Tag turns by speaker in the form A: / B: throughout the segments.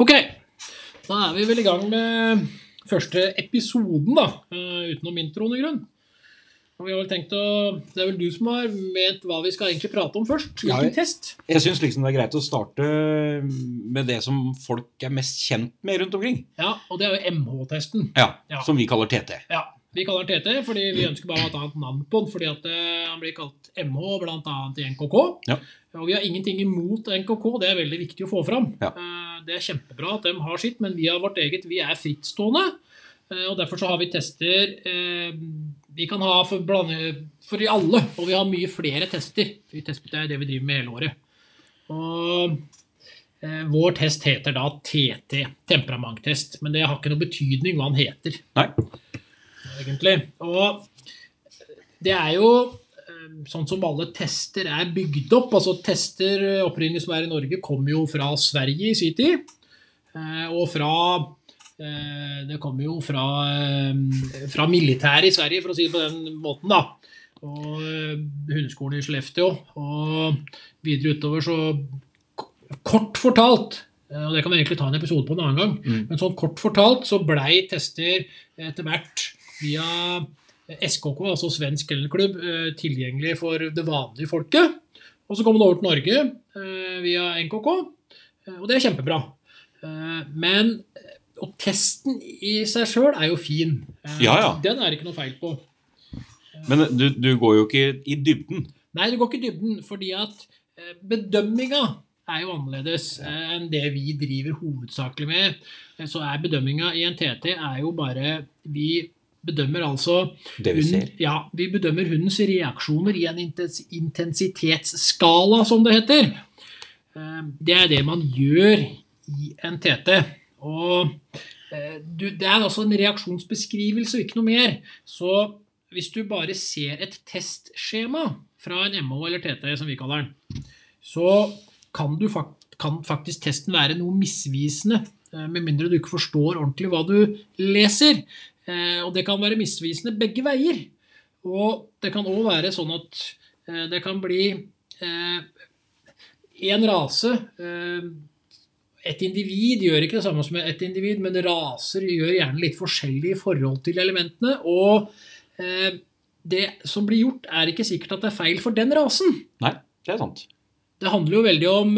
A: Ok, da er vi vel i gang med første episoden, da. eh, Utenom introen i grunn. Og vi har vel tenkt å, Det er vel du som har ment hva vi skal egentlig prate om først?
B: Ja,
A: Hvilken
B: jeg-
A: test?
B: Jeg syns liksom det er greit å starte med det som folk er mest kjent med rundt omkring.
A: Ja, og det er jo MH-testen.
B: Ja,
A: Ja.
B: Som vi kaller TT.
A: Ja, Vi kaller den TT fordi vi ønsker bare å ha et annet navn på den. Fordi at eh, han blir kalt MH bl.a. i NKK.
B: Ja.
A: Og vi har ingenting imot NKK, det er veldig viktig å få fram.
B: Ja.
A: Eh, Det er kjempebra at de har sitt, men vi har vårt eget. Vi er frittstående. eh, Og derfor så har vi tester eh, vi kan ha for, blande, for alle, og vi har mye flere tester. Vi tester det er det vi driver med hele året. Og eh, vår test heter da TT, temperamenttest. Men det har ikke noe betydning hva den heter
B: Nei.
A: egentlig. Og det er jo eh, sånn som alle tester er bygd opp. Altså tester eh, opprinnelig som er i Norge, kom jo fra Sverige i sin tid. eh, Og fra eh, Det kommer jo fra, eh, fra militæret i Sverige, for å si det på den måten, da. Og eh, hundeskolen i Skellefteå. Og videre utover så k- Kort fortalt, eh, og det kan vi egentlig ta en episode på en annen gang,
B: Mm.
A: men sånn kort fortalt så blei tester etter hvert via SKK, altså Svensk Kennelklubb, eh, tilgjengelig for det vanlige folket. Og så kom den over til Norge eh, via NKK, eh, og det er kjempebra. Eh, Men eh, Og testen i seg sjøl er jo fin. Eh,
B: Ja, ja.
A: Den er det ikke noe feil på.
B: Men du, du går jo ikke i dybden.
A: Nei, du går ikke i dybden, fordi at eh, bedømminga er jo annerledes eh, enn det vi driver hovedsakelig med. Eh, Så er bedømminga i en TT er jo bare Vi bedømmer altså
B: Det vi
A: Hund-
B: ser.
A: Ja, vi bedømmer hundens reaksjoner i en intens intensitetsskala, som det heter. Eh, Det er det man gjør i en TT. Og eh, du, det er altså en reaksjonsbeskrivelse og ikke noe mer. Så hvis du bare ser et testskjema fra en MH eller TT, som vi kaller den, så kan, du fak kan faktisk testen være noe misvisende. eh, Med mindre du ikke forstår ordentlig hva du leser. Eh, Og det kan være misvisende begge veier. Og det kan òg være sånn at eh, det kan bli én rase eh, Et individ gjør ikke det samme som et individ, men raser gjør gjerne litt forskjellig i forhold til elementene. Og eh, det som blir gjort, er ikke sikkert at det er feil for den rasen.
B: Nei, det er sant.
A: Det handler jo veldig om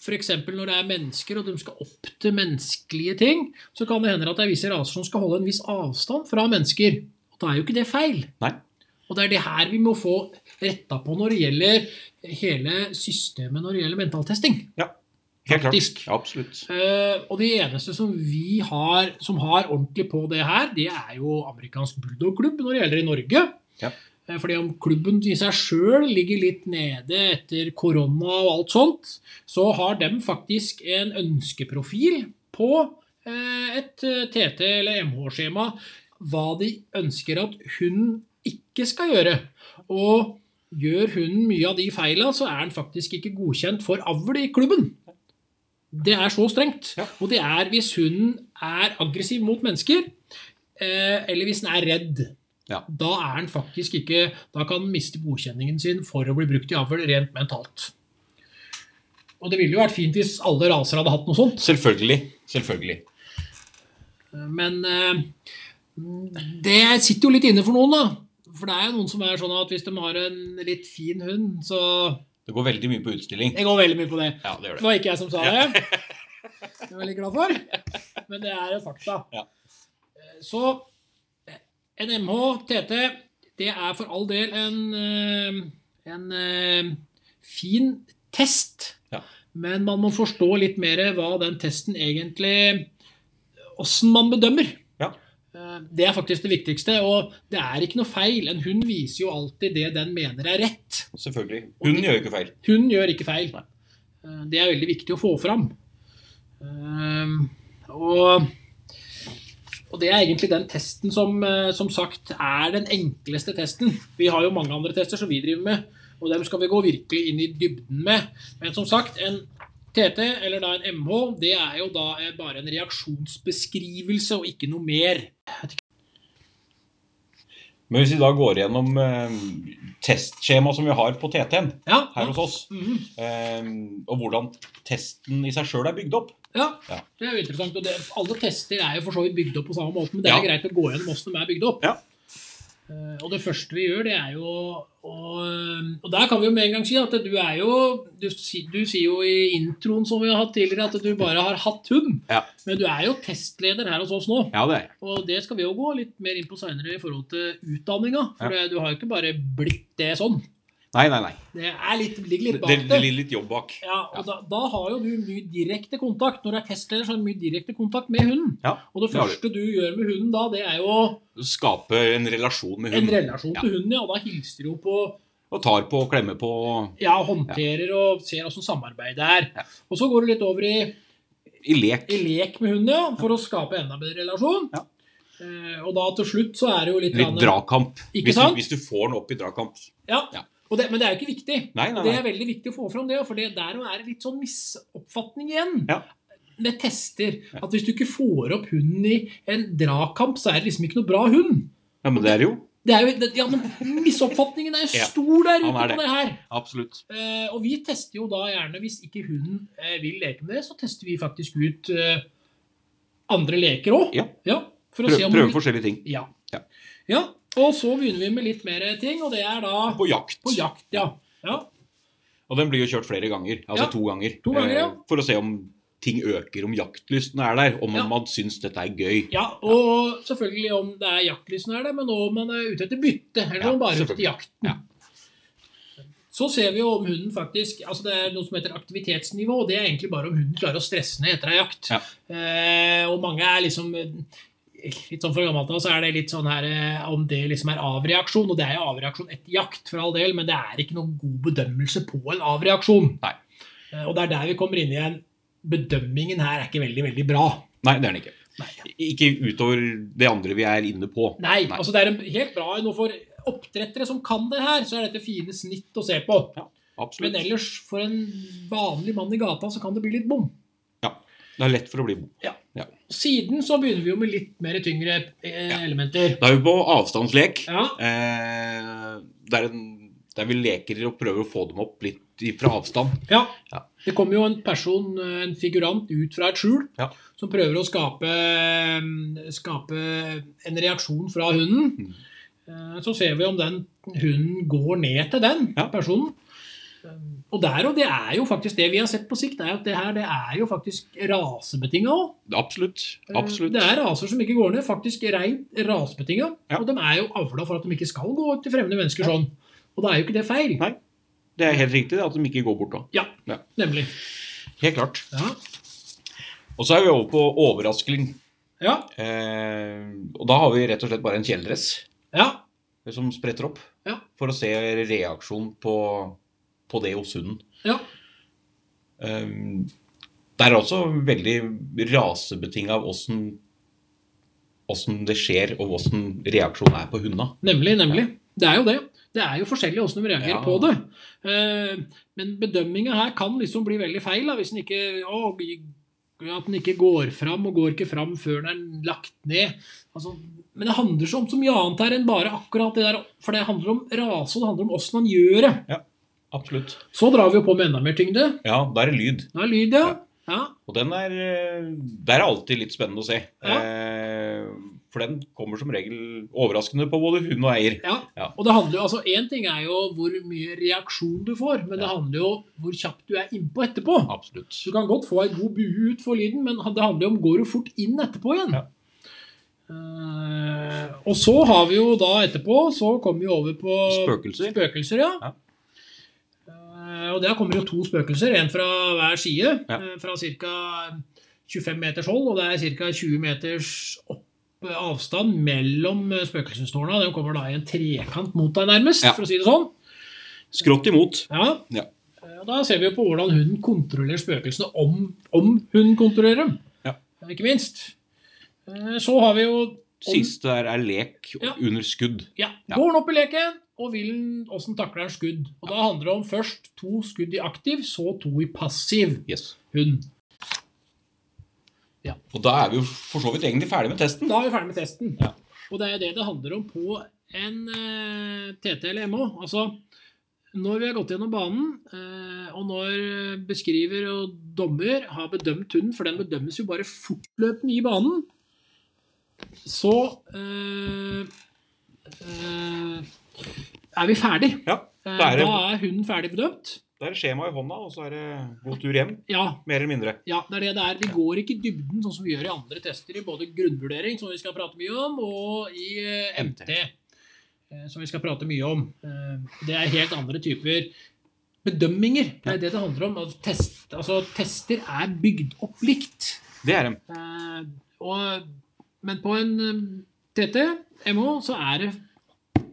A: f.eks. når det er mennesker, og de skal opp til menneskelige ting, så kan det hende at det er visse raser som skal holde en viss avstand fra mennesker. Og da er jo ikke det feil.
B: Nei.
A: Og det er det her vi må få retta på når det gjelder hele systemet når det gjelder mentaltesting.
B: Helt klart.
A: Faktisk.
B: Ja, absolutt.
A: Eh, og de eneste som vi har som har ordentlig på det her, det er jo amerikansk bulldogklubb når det gjelder i Norge.
B: Ja.
A: Eh, Fordi om klubben i seg sjøl ligger litt nede etter korona og alt sånt, så har de faktisk en ønskeprofil på eh, et eh, TT- eller MH-skjema hva de ønsker at hunden ikke skal gjøre. Og gjør hunden mye av de feila, så er den faktisk ikke godkjent for avl i klubben. Det er så strengt.
B: Ja.
A: Og det er hvis hunden er aggressiv mot mennesker, eh, eller hvis den er redd.
B: Ja.
A: Da er den faktisk ikke Da kan den miste godkjenningen sin for å bli brukt i avl rent mentalt. Og det ville jo vært fint hvis alle raser hadde hatt noe sånt.
B: Selvfølgelig. Selvfølgelig.
A: Men eh, det sitter jo litt inne for noen, da. For det er jo noen som er sånn at hvis de har en litt fin hund, så
B: Det går veldig mye på utstilling.
A: Jeg går veldig mye på det.
B: Ja, det gjør
A: Det
B: det.
A: var ikke jeg som sa det. Det er jeg veldig glad for. Men det er et fakta.
B: Ja.
A: Eh, Så eh, en MH, TT, det er for all del en, eh, en eh, fin test.
B: Ja.
A: Men man må forstå litt mer hva den testen egentlig Åssen man bedømmer.
B: Ja.
A: Eh, Det er faktisk det viktigste. Og det er ikke noe feil. En hund viser jo alltid det den mener er rett.
B: Selvfølgelig. Hunden gjør jo ikke feil.
A: Hun gjør ikke feil. Eh, Det er veldig viktig å få fram. Ehm, Og, og det er egentlig den testen som eh, som sagt er den enkleste testen. Vi har jo mange andre tester som vi driver med, og dem skal vi gå virkelig inn i dybden med. Men som sagt, en TT eller da en MH, det er jo da eh, bare en reaksjonsbeskrivelse og ikke noe mer.
B: Men hvis vi da går gjennom eh, testskjema som vi har på TT-en
A: Ja,
B: her hos oss,
A: Mhm.
B: eh, og hvordan testen i seg sjøl er bygd opp,
A: Ja,
B: Ja.
A: det er jo interessant. Og det, alle tester er jo for så vidt bygd opp på samme måte, men det er
B: Ja.
A: greit å gå gjennom hvordan de er bygd opp.
B: Ja.
A: Eh, og det første vi gjør, det er jo og, og der kan vi jo med en gang si at du er jo Du, si- du sier jo i introen som vi har hatt tidligere, at du bare har hatt hund.
B: Ja.
A: Men du er jo testleder her hos oss nå.
B: Ja, det er jeg.
A: Og det skal vi jo gå litt mer inn på seinere i forhold til utdanninga. For det, du har jo ikke bare blitt det sånn.
B: Nei, nei, nei.
A: Det er litt, ligger litt
B: Det,
A: bak
B: det, det ligger litt jobb bak.
A: ja, og da, da har jo du mye direkte kontakt. Når du er testleder, så har du mye direkte kontakt med hunden.
B: Ja,
A: Og det
B: det har du.
A: første du gjør med hunden da, det er jo
B: Skape en relasjon med
A: en
B: hund.
A: relasjon til hunden, ja. Og da hilser du jo på
B: Og tar på og klemmer på. og-
A: Ja, håndterer og ser åssen samarbeidet er.
B: Ja.
A: Og så går du litt over i,
B: I lek.
A: i lek med hunden, ja, for å skape enda bedre relasjon.
B: Ja.
A: Eh, og da til slutt så er det jo litt,
B: Litt
A: grann-
B: dragkamp.
A: Ikke
B: Hvis du,
A: sant?
B: hvis du får den opp i dragkamp.
A: Ja.
B: Ja.
A: Og det, men det er jo ikke viktig.
B: Nei, nei,
A: Det
B: nei.
A: er veldig viktig å få fram det, for det der er det litt sånn misoppfatning igjen.
B: Ja.
A: Med tester. At hvis du ikke får opp hunden i en dragkamp, så er det liksom ikke noe bra hund.
B: Ja, men det er det jo.
A: Det er jo, det, ja, men Misoppfatningen er jo
B: Ja,
A: stor der ute
B: han
A: på
B: er det.
A: det her.
B: Absolutt.
A: Eh, og vi tester jo da gjerne, hvis ikke hunden eh, vil leke med det, så tester vi faktisk ut eh, andre leker òg.
B: Ja.
A: for å
B: Prøv,
A: se om
B: prøve
A: vi-
B: forskjellige ting.
A: ja.
B: Ja.
A: ja. Og så begynner vi med litt mer ting, og det er da
B: På jakt.
A: på jakt. Ja. ja.
B: Og den blir jo kjørt flere ganger. Altså
A: Ja.
B: to ganger.
A: To ganger, ja.
B: Eh, For å se om ting øker, om jaktlysten er der. Om
A: Ja.
B: man syns dette er gøy.
A: Ja, og selvfølgelig om det er jaktlysen er det, men om man er ute etter bytte, eller
B: Ja,
A: om man bare er ute etter
B: selvfølgelig.
A: jakten. Så ser vi jo om hunden faktisk altså Det er noe som heter aktivitetsnivå, og det er egentlig bare om hunden klarer å stresse ned etter ei jakt.
B: Ja.
A: Eh, og mange er liksom eh, Litt sånn for gammelt av så er det litt sånn her eh, om det liksom er avreaksjon, og det er jo avreaksjon etter jakt, for all del, men det er ikke noen god bedømmelse på en avreaksjon.
B: Nei.
A: Eh, og det er der vi kommer inn igjen. Bedømmingen her er ikke veldig, veldig bra.
B: Nei, det er den ikke.
A: Nei.
B: Ikke utover det andre vi er inne på.
A: Nei,
B: Nei.
A: altså det er en helt bra noe for oppdrettere som kan det her, så er dette fine snitt å se på. Men
B: Absolutt.
A: ellers, for en vanlig mann i gata, så kan det bli litt bom.
B: Ja. Det er lett for å bli bom.
A: Ja.
B: Ja.
A: Siden så begynner vi jo med litt mer tyngre eh,
B: Ja.
A: elementer.
B: Da er vi på avstandslek.
A: Ja,
B: Eh, der, en, der vi leker og prøver å få dem opp litt i- fra avstand.
A: ja.
B: Ja.
A: Det kommer jo en person, eh, en figurant, ut fra et skjul
B: Ja.
A: som prøver å skape, eh, skape en reaksjon fra hunden.
B: Mm.
A: Eh, Så ser vi om den hunden går ned til den
B: Ja.
A: personen. Eh, Og der og det er jo faktisk det vi har sett på sikt, er jo at det her det er jo faktisk rasebetinga òg.
B: Absolutt. Absolutt.
A: Eh, Det er raser som ikke går ned, faktisk rent rasebetinga.
B: Ja.
A: Og de er jo avla for at de ikke skal gå til fremmede mennesker sånn. Og da er jo ikke det feil.
B: Nei. Det er helt riktig det, at de ikke går bort da.
A: Ja,
B: Ja.
A: nemlig.
B: Helt klart.
A: Ja.
B: Og så er vi over på overraskeling.
A: ja.
B: Eh, og da har vi rett og slett bare en kjeledress
A: ja.
B: som spretter opp.
A: Ja.
B: For å se reaksjon på, på det hos hunden.
A: ja.
B: Eh, det er også veldig rasebetinga av åssen åssen det skjer, og åssen reaksjonen er på hundene.
A: Nemlig, nemlig. Det er jo det. Det er jo forskjellig hvordan de reagerer
B: Ja.
A: på det. Eh, Men bedømminga her kan liksom bli veldig feil da, hvis den ikke å, At den ikke går fram, og går ikke fram før den er lagt ned. Altså, men det handler så om så mye annet her enn bare akkurat det der. For det handler om rase, og det handler om åssen han gjør det.
B: Absolutt.
A: Så drar vi jo på med enda mer tyngde.
B: Ja, da er det lyd.
A: Da er lyd, ja. ja.
B: Og den er eh, Der er alltid litt spennende å se.
A: Ja.
B: Eh, For den kommer som regel overraskende på både hund og eier.
A: Ja.
B: Ja.
A: Og det handler jo, altså Én ting er jo hvor mye reaksjon du får, men det
B: Ja.
A: handler jo om hvor kjapt du er innpå etterpå.
B: Absolutt.
A: Du kan godt få ei god bue ut for lyden, men det handler jo om går du fort inn etterpå igjen.
B: Ja.
A: Eh, og så har vi jo da etterpå, så kommer vi over på
B: Spøkelser.
A: spøkelser, ja.
B: Ja.
A: Eh, og der kommer det jo to spøkelser, én fra hver side,
B: Ja.
A: eh, fra ca. 25 meters hold, og det er ca. 20 meters opp eh, avstand mellom eh, spøkelsestårna. Den kommer da i en trekant mot deg, nærmest,
B: Ja.
A: for å si det sånn.
B: Skrått imot.
A: Ja.
B: Ja.
A: Eh, Da ser vi jo på hvordan hunden kontrollerer spøkelsene, om, om hun kontrollerer dem.
B: Ja.
A: Eh, Ikke minst. Eh, Så har vi jo om-
B: Siste der er lek
A: Ja.
B: under skudd.
A: Ja,
B: Ja.
A: Går han opp i leken, og vil han- hvordan takler han skudd? Og Da handler det om først to skudd i aktiv, så to i passiv
B: Yes.
A: hund.
B: Og da er vi jo for så vidt egentlig ferdig med testen.
A: Da er vi ferdig med testen.
B: Ja.
A: Og det er jo det det handler om på en eh, TT eller MH. Altså, Når vi har gått gjennom banen, eh, og når beskriver og dommer har bedømt hunden, for den bedømmes jo bare fortløpende i banen, så eh, eh, er vi ferdig.
B: Ja,
A: Eh,
B: Da er det-
A: Da er hunden ferdig bedømt.
B: Det er skjema i hånda, og så er det god tur hjem.
A: Ja,
B: Mer eller mindre.
A: Ja, det er det det er. Vi går ikke i dybden, sånn som vi gjør i andre tester, i både grunnvurdering, som vi skal prate mye om, og i eh,
B: MT.
A: MT, eh, som vi skal prate mye om. Eh, Det er helt andre typer bedømminger. Det er det det handler om. Altså, test, altså, tester er bygd opp likt.
B: Det er de.
A: Eh, Og, men på en eh, TT, MO, så er det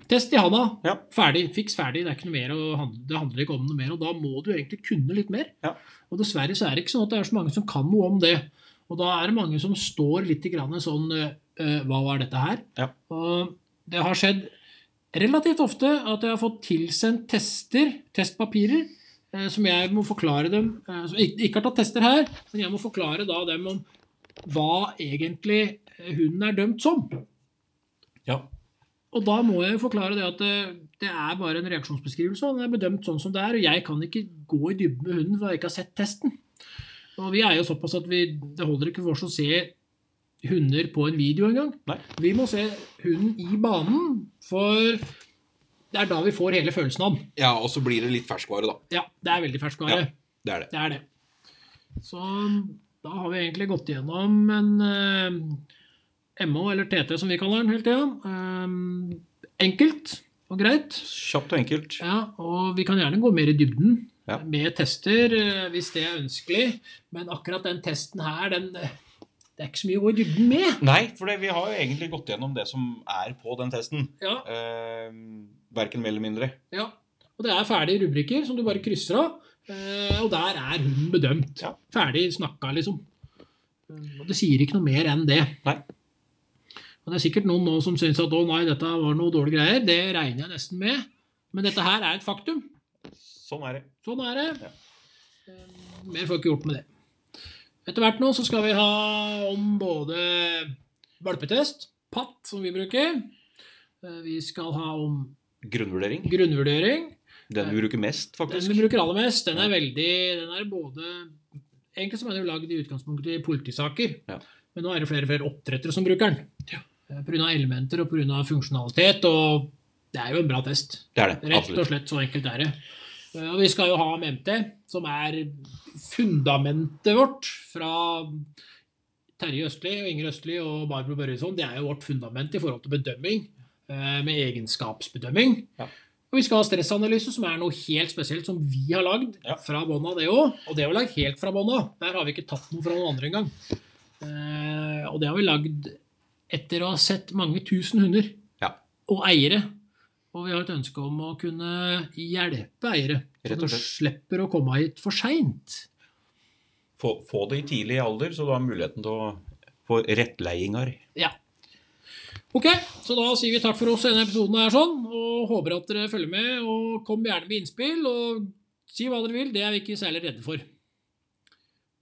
A: test i handa.
B: Ja.
A: Ferdig. Fiks ferdig. Det, er ikke noe mer å handle, det handler ikke om noe mer. Og da må du egentlig kunne litt mer.
B: Ja.
A: Og dessverre så er det ikke sånn at det er så mange som kan noe om det. Og da er det mange som står litt i grann sånn eh, Hva var dette her?
B: Ja.
A: Og det har skjedd relativt ofte at jeg har fått tilsendt tester, testpapirer, eh, som jeg må forklare dem eh, Som ikke, ikke har tatt tester her, men jeg må forklare da dem om hva egentlig eh, hunden er dømt som.
B: Ja.
A: Og da må jeg jo forklare det at eh, det er bare en reaksjonsbeskrivelse, og den er bedømt sånn som det er, og jeg kan ikke gå i dybden med hunden for jeg ikke har sett testen. Og vi er jo såpass at vi, det holder ikke for oss å se hunder på en video engang.
B: Nei.
A: Vi må se hunden i banen, for det er da vi får hele følelsen av den.
B: ja, og så blir det litt ferskvare, da.
A: Ja, det er veldig ferskvare.
B: Ja. Det er det.
A: Det er det. Så da har vi egentlig gått gjennom en eh, MO, eller TT som vi kaller den hele tida. enkelt og greit.
B: Kjapt og enkelt.
A: Ja, og vi kan gjerne gå mer i dybden
B: Ja.
A: med tester eh, hvis det er ønskelig. Men akkurat den testen her, den, eh, det er ikke så mye å gå i dybden med.
B: Nei, for det, vi har jo egentlig gått gjennom det som er på den testen.
A: Ja,
B: Eh, verken mer eller mindre.
A: ja. Og det er ferdige rubrikker som du bare krysser av. eh, Og der er hunden bedømt.
B: Ja.
A: Ferdig snakka, liksom. Eh, Og det sier ikke noe mer enn det.
B: Nei.
A: Og det er sikkert noen nå som syns at å nei, dette var noe dårlige greier. Det regner jeg nesten med. Men dette her er et faktum.
B: Sånn er det.
A: Sånn er det. Eh, Mer får jeg ikke gjort med det. Etter hvert nå så skal vi ha om både valpetest, patt, som vi bruker. Eh, Vi skal ha om
B: Grunnvurdering.
A: grunnvurdering.
B: Den vi bruker mest,
A: Den
B: faktisk.
A: vi bruker aller mest, den er veldig Den er både Egentlig så er den jo lagd i utgangspunktet i politisaker,
B: Ja.
A: men nå er det flere og flere oppdrettere som bruker den. Eh, På grunn av elementer og på grunn av funksjonalitet, og det er jo en bra test.
B: Det er det.
A: Rett og
B: Absolutt.
A: slett så enkelt er det. Eh, Og vi skal jo ha om MT, som er fundamentet vårt fra Terje Østli og Inger Østli og Barbro Børjesson. Det er jo vårt fundament i forhold til bedømming, eh, med egenskapsbedømming.
B: Ja.
A: Og vi skal ha stressanalyse, som er noe helt spesielt som vi har lagd
B: Ja.
A: fra bånn av det òg. Og det har vi lagd helt fra bånn av. Der har vi ikke tatt noe fra noen andre engang. Eh, og det har vi lagd etter å ha sett mange tusen hunder
B: Ja.
A: og eiere. Og vi har et ønske om å kunne hjelpe eiere, så
B: Rett
A: de
B: og slett.
A: slipper å komme hit for seint.
B: Få, få det i tidlig alder, så du har muligheten til å få rettleiinger.
A: Ja. Ok, så da sier vi takk for oss i denne episoden her sånn, og håper at dere følger med. Og kom gjerne med innspill, og si hva dere vil. Det er vi ikke særlig redde for.